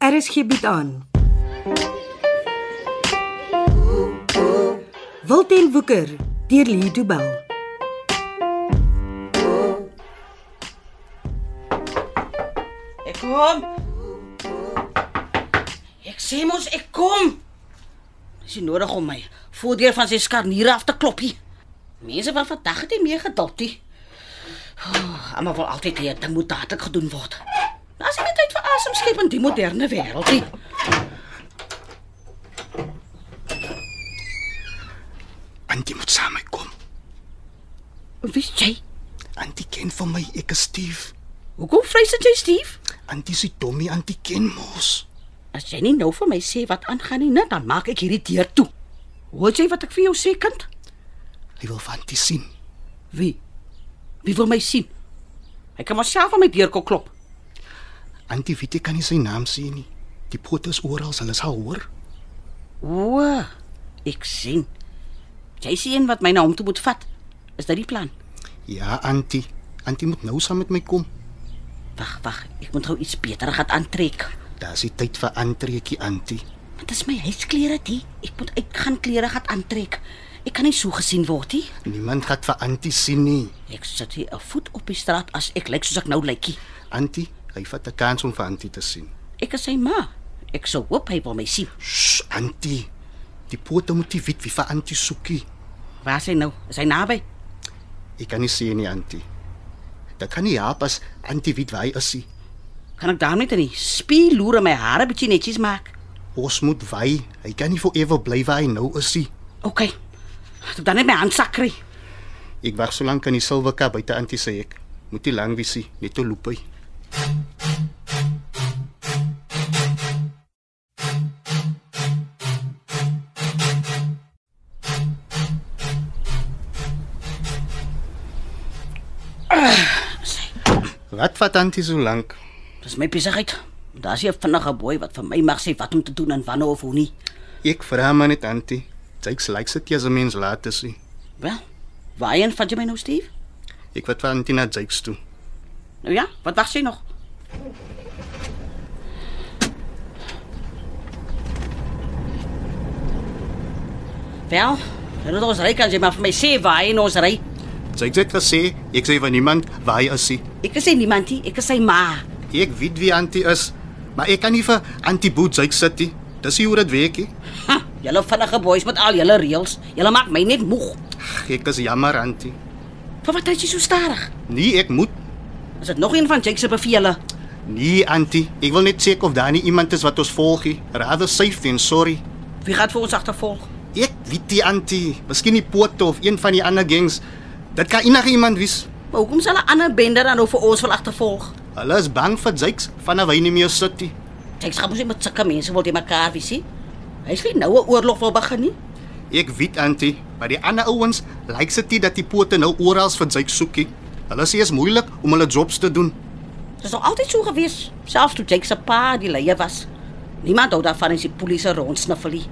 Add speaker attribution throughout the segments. Speaker 1: RSG bied Er aan. Wilten Woeker deur Lee Du Bell.
Speaker 2: Ek kom. Ek sê mos ek kom. Dis nie nodig om my voordeur van sy skarniere af te klop nie. Mense van vandag het nie meer geduld nie. Oh, maar wil altyd hê 'n ding moet dadelik gedoen word. Daar's nie meer tyd vir asemskep in die moderne wêreld nie.
Speaker 3: Antjie moet saam met my kom.
Speaker 2: Wie is jy?
Speaker 3: Antjie ken van my, ek is Steve.
Speaker 2: Hoekom vrees jy, Steve?
Speaker 3: Antjie se dommie, Antjie ken mos.
Speaker 2: As jy nie nou vir my sê wat aangaan nie, net dan maak ek hierdie deur toe. Hoor jy wat ek vir jou sê, kind?
Speaker 3: Hy wil van Antjie sien.
Speaker 2: Wie? Wie wil my sien? Hy kan myself aan my deurkop klop.
Speaker 3: Antjie weet jy kan nie sy naam sê nie. Die pote is oral, hulle sal hoor.
Speaker 2: O, ek sien. Jy sien wat my na hom toe moet vat. Is dit die plan?
Speaker 3: Ja, Antjie. Antjie moet nou saam met my kom.
Speaker 2: Wag, wag, ek moet gou iets beter gaan aantrek.
Speaker 3: Daar's die tyd vir aantrekkie, Antjie.
Speaker 2: Dit is my huisklere dit. Ek moet uitgaan klere gaan aantrek. Ek kan nie so gesien word nie.
Speaker 3: Niemand gaan vir Antjie sien nie.
Speaker 2: Ek sit hier 'n voet op die straat as ek lyk soos ek nou lykie.
Speaker 3: Antjie, hy vat 'n kans om vir Antjie te sien.
Speaker 2: Ek is sy ma. Ek sou hoop hy wil my sien.
Speaker 3: Sss, Antjie. Die pote moet nie weet wie vir Antjie soekie.
Speaker 2: Waar is hy nou? Is hy naby?
Speaker 3: Ek kan nie sien nie, Antjie. Dit kan nie help as Antjie weet waar hy is nie.
Speaker 2: Kan ek daarmee dan nie spie loer en my hare bietjie netjies maak?
Speaker 3: Ons moet wy. Hy kan nie forever bly waar hy nou is nie.
Speaker 2: OK. Toe dan net my handsak kry.
Speaker 3: Ek wag so lank aan die silwerka buite antie sê ek. Moet nie lank wees nie, net toe loop hy. Wat vat antie so lank?
Speaker 2: Dis my besigheid. Daar's hier 'n vinnige boy wat vir my mag sê wat om te doen en wanneer of hoe nie.
Speaker 3: Ek vra maar net antie. Jy's lyk sit jy as 'n mens laat is nie.
Speaker 2: Wel, waarheen vat jy my nou, Steve?
Speaker 3: Ek wat van antie na Jakes toe.
Speaker 2: Nou ja, wat wag jy nog? Wel, dan het ons ry kan jy maar vir my sê waarheen ons ry.
Speaker 3: Jakes het gesê ek sê van niemand waar hy is nie.
Speaker 2: Ek is nie niemand nie, ek is sy ma.
Speaker 3: Ek weet wie antie is, maar ek kan nie vir antie Boet Jakes sit nie. Dis nie hoe dit werk nie.
Speaker 2: Ha, julle vinnige boys met al julle reëls, julle maak my net moeg.
Speaker 3: Ag, Ek is jammer antie.
Speaker 2: Vir wat is jy so stadig?
Speaker 3: Nee, ek moet.
Speaker 2: Is dit nog een van Jake se bevele?
Speaker 3: Nee antie, ek wil net seker of daar nie iemand is wat ons volg nie. Rather safe than sorry.
Speaker 2: Wie gaan vir ons agtervolg?
Speaker 3: Ek weet die antie, miskien die Poto of een van die ander gangs. Dit kan enige iemand wees.
Speaker 2: Maar hoekom sal 'n ander bende dan nou vir ons wil agtervolg?
Speaker 3: Hulle is bang vir Jakes vanaf hy nie meer sit nie.
Speaker 2: Ek sê mos jy met sulke mense wil jy mekaar wie sien? Hy sê nou 'n oorlog wil begin nie.
Speaker 3: Ek weet antie, maar die ander ouens lyk dit nie dat die Poto nou oral vir Jakes soekie. Hulle sê is moeilik om hulle jobs te doen.
Speaker 2: Dit is nog altyd so gewees, selfs toe Jake se pa die leier was. Niemand hou daarvan as die polisie rondsniffel nie.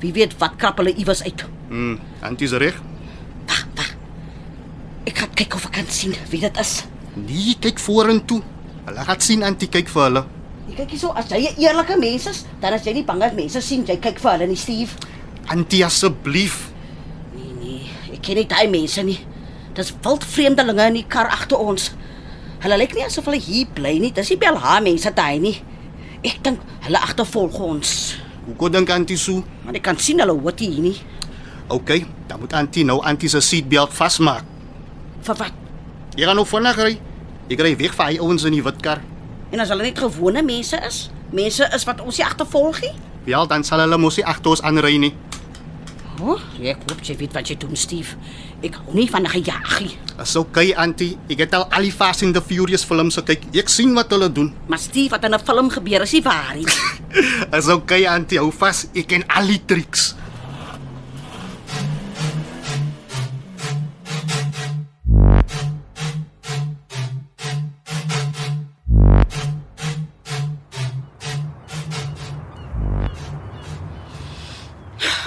Speaker 2: Wie weet wat krap hulle iewers uit.
Speaker 3: Mm, antie's reg.
Speaker 2: Wag, wag. Ek gaan kyk of ek kan sien wie dit is.
Speaker 3: Nee, kyk vorentoe. Hulle gaan sien antie kyk vir hulle.
Speaker 2: Jy kyk hierso, as jy 'n eerlike mens is, dan as jy nie bang as mense sien jy kyk vir hulle nie, Steve.
Speaker 3: Antie asseblief.
Speaker 2: Nee nee, ek ken nie daai mense nie. Dis wild vreemdelinge in die kar agter ons. Hulle lyk nie asof hulle hier bly nie. Dis nie Belha mense daai nie. Ek dink hulle agtervolg ons.
Speaker 3: Hoekom dink antie so?
Speaker 2: Maar ek kan sien hulle hoort hier nie.
Speaker 3: OK, dan moet Antie nou Antie se seatbelt vasmaak.
Speaker 2: Vir wat?
Speaker 3: Jy gaan nou vinnig ry. Ek ry weg van hy ouens in die wit kar.
Speaker 2: En as hulle net gewone mense is, mense is wat ons nie agtervolg nie.
Speaker 3: Wel, dan sal hulle mos nie agter ons aanry nie.
Speaker 2: O, oh, ek hoop jy weet wat jy doen, Steve. Ek hou nie van gejaag nie.
Speaker 3: Dis OK Antie, ek het al al die Fast and the Furious films gekyk. Ek sien wat hulle doen.
Speaker 2: Maar Steve, wat in 'n film gebeur is nie waar nie.
Speaker 3: Dis OK Antie, hou vas. Ek ken al die triks.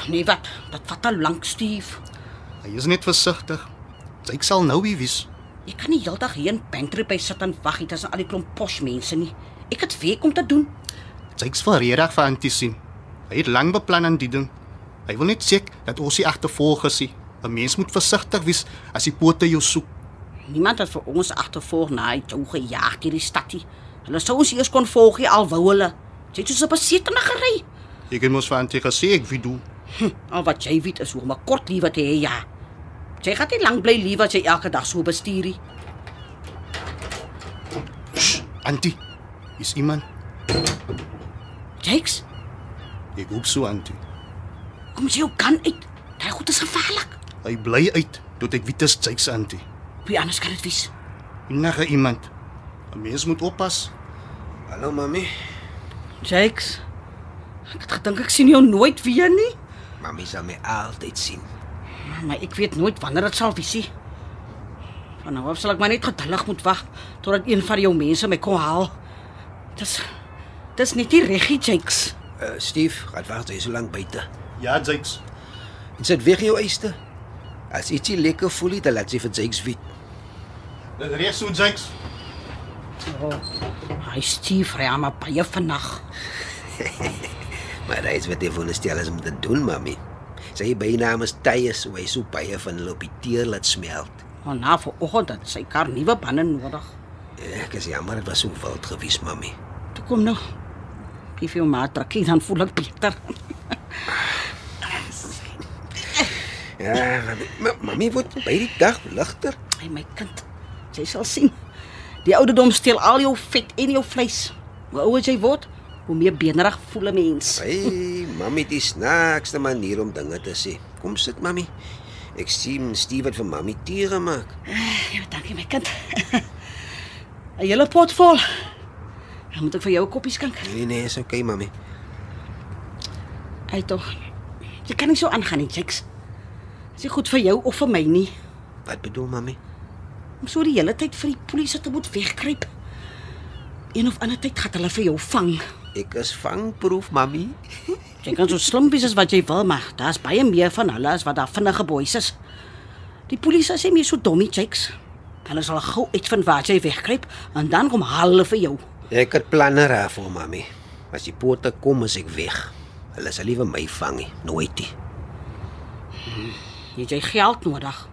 Speaker 2: Nee, wat? Dit vat al lank, Steve.
Speaker 3: Hy is net versigtig. Ek sal nou wie wees.
Speaker 2: Ek kan nie heeldag hier in Pantry by sit en wag hier tussen al die klomp pos mense nie. Ek het werk om te doen.
Speaker 3: Jakes wil regtig vir Antie sien. Hy het lank beplan aan die ding. Hy wil net seker dat ons nie agtervolg is nie. 'n Mens moet versigtig wees as die pote jou soek.
Speaker 2: Niemand het vir ons agtervolg na die toe gejaag deur die stad nie. Hulle sou ons eers kon volg, nie, al wou hulle. Jy het soos 'n besetene gery.
Speaker 3: Ek het mos vir Antie gesê ek weet hoe.
Speaker 2: Al wat jy weet is hoe om 'n kort lewe te hê, ja. Jy gaan nie lank bly lewe as jy elke dag so bestuur nie.
Speaker 3: Antie, is iemand?
Speaker 2: Jakes,
Speaker 3: Ek hoop so Antie.
Speaker 2: kom jy jou kan uit. Daai goed is gevaarlik.
Speaker 3: Hy bly uit tot ek weet dis Jakes Antie.
Speaker 2: Wie anders kan dit wees?
Speaker 3: Enige iemand. 'n Mens moet oppas.
Speaker 4: Hallo mami.
Speaker 2: Jakes. Ek het gedink ek sien jou nooit weer nie,
Speaker 4: Mami sal my altyd sien.
Speaker 2: maar ek weet nooit wanneer dit sal wees nie. Van nou af sal ek maar net geduldig moet wag totdat een van jou mense my kom haal. Dis dis net nie reggie, Jakes.
Speaker 4: Uh, Steve, gaan wag jy so lank buite.
Speaker 3: Ja, Jakes.
Speaker 4: En sit weg jou eiste. As ietsie lekker voel, dan laat jy vir Jakes weet.
Speaker 3: Dit reg so Jakes.
Speaker 2: Oh, Hy stief ry aan my baie vannag.
Speaker 4: Maar hy is wat hy wil stel as om te doen, mami. Sy bynaam is Tyus, hoe hy so baie van hulle op die teer laat smelt.
Speaker 2: Maar na vanoggend het sy kar nuwe bande nodig.
Speaker 4: Eh, Ek is jammer, dit was so wild gewees, mami.
Speaker 2: Toe kom nou. Geef jou maar trakkie dan voel ek beter.
Speaker 4: Ja, mami, ma- mami word by die dag ligter.
Speaker 2: Hey my kind, jy sal sien. Die ouderdom steel al jou vet en jou vleis. Hoe ouer jy word, hoe meer benerig voel 'n mens.
Speaker 4: Hey, mami, dis snaakste manier om dinge te sê. Kom sit, mami. Ek sien Steve het vir mami tee gemaak.
Speaker 2: Ja, dankie my kind. 'n Hele pot vol. Dan moet ek vir jou 'n koppie skink.
Speaker 4: Nee nee, is okay, mami.
Speaker 2: Ai tog. Jy kan nie so aangaan nie, Jax. Dis nie goed vir jou of vir my nie.
Speaker 4: Wat bedoel mami?
Speaker 2: om so die hele tyd vir die polisie te moet wegkruip. Een of ander tyd gaan hulle vir jou vang.
Speaker 4: Ek is vangproef, mami.
Speaker 2: Jy kan so slim wees as wat jy wil, maar daar's baie meer van hulle as wat daar vinnige boeis is. Die polisie is nie meer so dommie, Jakes. Hulle sal gou uitvind waar jy wegkruip en dan kom haal hulle vir jou.
Speaker 4: Ek het planne daarvoor, mami. As die pote kom, is ek weg. Hulle sal liewe my vang nie, nooit nie.
Speaker 2: Jy het jy geld nodig.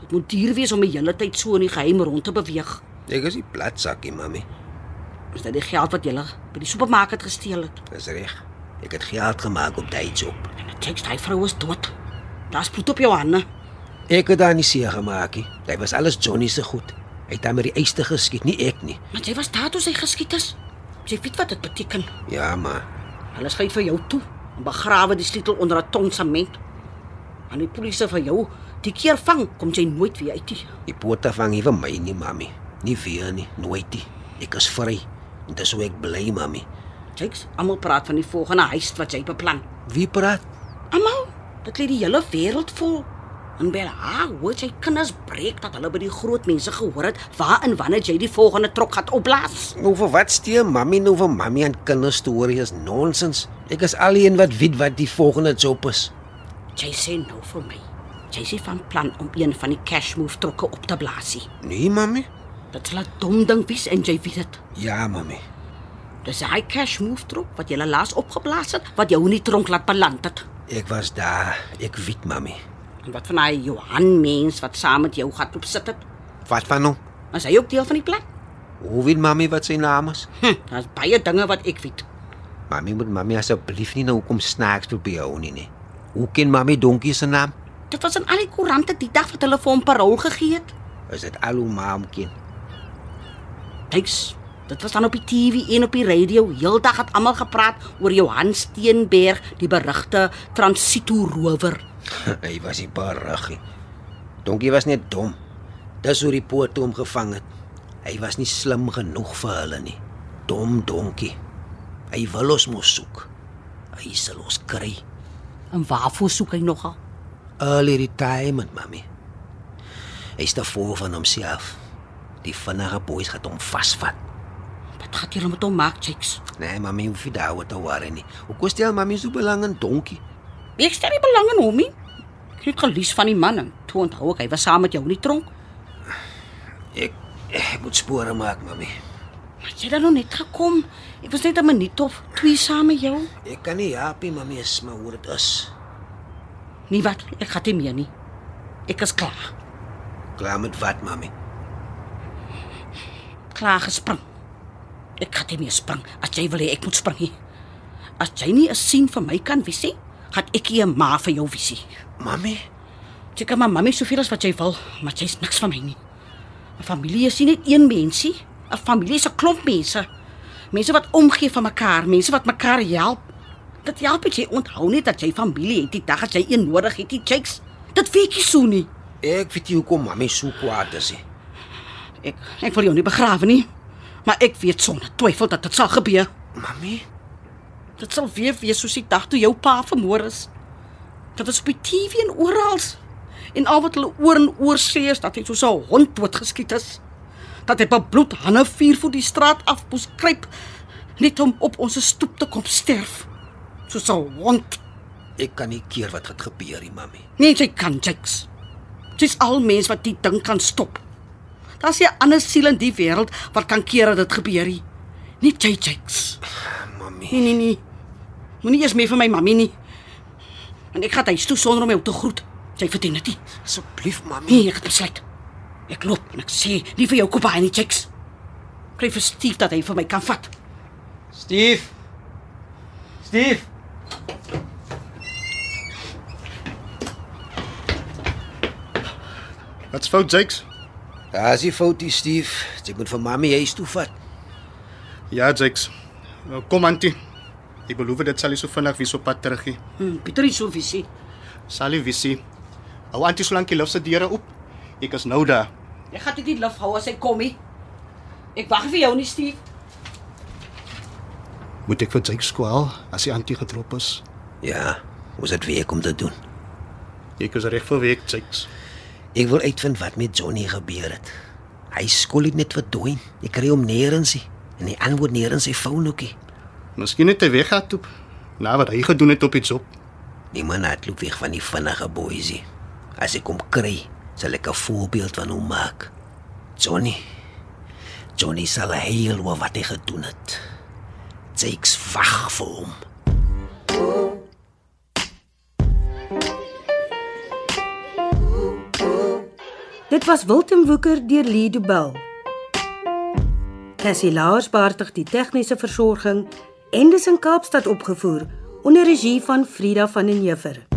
Speaker 2: Dit moet duur wees om die hele tyd so in die geheim rond te beweeg.
Speaker 4: Ek is die platsakkie, mami.
Speaker 2: Is dit die geld wat jy by die supermark het gesteel het?
Speaker 4: Dis reg. Ek het geld gemaak op daai job.
Speaker 2: En Jakes, daai vrou is dood. Daar's bloed op jou hande.
Speaker 4: Ek het daar nie seer gemaak nie. Dit was alles Johnny se goed. Hy het hom met die eiste geskiet, nie ek nie.
Speaker 2: Maar jy was daar toe sy geskiet is. Jy weet wat dit beteken.
Speaker 4: Ja, maar
Speaker 2: Hulle skei vir jou toe en begrawe die sleutel onder 'n ton sement. Aan die polisie vir jou die keer vang, kom jy nooit weer uit nie.
Speaker 4: die pote vang nie vir my nie, mami. Nie weer nie, nooit nie. Ek is vry. En dis hoe ek bly, mami.
Speaker 2: Jakes, almal praat van die volgende huis wat jy beplan.
Speaker 4: Wie praat?
Speaker 2: Almal, dit lê die hele wêreld vol. En bel haar, hoor jy kinders breek dat hulle by die groot mense gehoor het waar en wanneer jy die volgende trok gaan opblaas.
Speaker 4: Nou vir wat steem mami nou vir mami aan kinders stories is nonsens. Ek is alleen wat weet wat die volgende job is.
Speaker 2: Jy sê nou vir my. Jy sê van plan om een van die cash move trokke op te blaas. nie.
Speaker 4: Nee mami.
Speaker 2: Dit sal 'n dom ding wees en jy weet dit.
Speaker 4: Ja mami.
Speaker 2: Dis hy cash move trop wat jy laas opgeblaas het wat jou in die tronk laat beland het.
Speaker 4: Ek was daar. Ek weet mami.
Speaker 2: En wat van daai Johan mens wat saam met jou gaan loop sit het?
Speaker 4: Wat van nou?
Speaker 2: Was hy ook deel van die plan?
Speaker 4: Hoe weet mami wat sy naam is?
Speaker 2: Hm, daar's baie dinge wat ek weet.
Speaker 4: Mami moet mami asseblief nie nou kom snaaks probeer hou nie nie. Hoe ken mami donkie se naam?
Speaker 2: Dit was in al die koerante die dag wat hulle vir hom parol gegee het.
Speaker 4: Is dit al hoe ma hom ken?
Speaker 2: Kyks, dit was dan op die TV en op die radio. Heeldag het almal gepraat oor Johan Steenberg, die berugte transito rower.
Speaker 4: Hy was nie barriggie. Donkie was net dom. Dis hoe die poot hom gevang het. Hy was nie slim genoeg vir hulle nie. Dom donkie. Hy wil ons mos soek. Hy sal ons kry.
Speaker 2: En waarvoor soek hy nogal?
Speaker 4: Early retirement, mami. Hy is te vol van homself. Die vinnige boeis gaan hom vasvat.
Speaker 2: Wat gaan jy met hom maak, Kyks?
Speaker 4: Nee, mami, hoef jy daaroor te worry nie. Hoe kom stel mami so belang in donkie?
Speaker 2: Ek stel nie belang in hom nie. Ek het gelees van die man en toe onthou ek hy was saam met jou in die tronk.
Speaker 4: Ek, ek moet spore maak, mami.
Speaker 2: Maar het jy dan nog net gekom? Ek was net 'n minuut of twee saam met jou.
Speaker 4: Ek kan nie help nie, mami, is maar hoe dit is.
Speaker 2: Nee wat, ek gaan nie meer nie. Ek is klaar.
Speaker 4: Klaar met wat, mami?
Speaker 2: Klaar gespring. Ek gaan nie meer spring as jy wil hê ek moet spring nie. As jy nie 'n sien vir my kan wys nie, gaan ek nie 'n ma vir jou wys nie.
Speaker 4: Mami,
Speaker 2: Jy kan maar mami soveel as wat jy wil, maar jy's niks van my nie. 'n Familie is nie net een mensie, 'n familie is 'n klomp mense. Mense wat omgee vir mekaar, mense wat mekaar help. Dit help as jy onthou net dat jy familie het, die dag as jy een nodig het, die chicks. Dit weet jy so nie.
Speaker 4: ek weet nie hoekom mami so kwaad is nie.
Speaker 2: Ek ek wil jou nie begrawe nie, maar ek weet sonder twyfel dat dit sal gebeur.
Speaker 4: Mami,
Speaker 2: Dit sal weer wees soos die dag toe jou pa vermoor is. Dit is op die TV en oral. En al wat hulle oor en oor sê is dat hy soos 'n hond doodgeskiet is. Dat hy bebloed hande vier voet die straat af moes kruip net om op ons stoep te kom sterf. Soos 'n hond.
Speaker 4: ek kan nie keer wat het gebeur nie, mami.
Speaker 2: Nee, jy kan niks. Dis al mens wat die ding kan stop. Daar's nie 'n ander siel in die wêreld wat kan keer dat dit gebeur nie. Net jy, Jakes.
Speaker 4: Mami,
Speaker 2: Nee, nee, nee. Moenie eers meer vir my mammie nie. En ek gaan huis toe sonder om jou te groet. Jy verdien dit nie.
Speaker 4: asseblief, mami.
Speaker 2: Nee, ek het besluit. Ek loop en ek sê nie vir jou koop hy nie checks. Kry vir Steve dat hy vir my kan vat.
Speaker 5: Steve. Steve.
Speaker 3: Wat's fout, Jakes?
Speaker 4: Daar's die foutie, Steve. Jy moet vir mami huis toe vat.
Speaker 3: Ja, Jakes. Nou, Kom, Antie. Ek beloof dit sal nie so vinnig weer so pad terug nie.
Speaker 2: Hm, Pieter is so visie.
Speaker 3: Sal jy visie. Hou Antie solank die lifse deure oop. Ek is nou daar.
Speaker 2: Jy gaan dit nie lief hou as hy kom nie. Ek wag vir jou nie, Steve.
Speaker 3: Moet ek vir Jakes kwaal as die Antie gedrop is?
Speaker 4: Ja, ons het weer kom te doen.
Speaker 3: Ek is reg verweek, Jakes.
Speaker 4: Ek wil uitvind wat met Johnny gebeur het. Hy skool dit net verdwyn. Ek kry hom nêrens nie en hy antwoord nêrens sy foon ookie.
Speaker 3: Miskien het hy weggaan toe. Na wat hy gedoen het op die job.
Speaker 4: Die man het loop weg van die vinnige boesie. As ek hom kry, sal ek 'n voorbeeld van hom maak. Johnny. Johnny sal heel oor wat hy gedoen het. Jakes wag vir hom.
Speaker 1: Dit was Wilten Woeker deur Lee Du Bell. Cassie Lars beheerdig die tegniese versorging en dis in Kaapstad opgevoer onder regie van Frida van den Heever.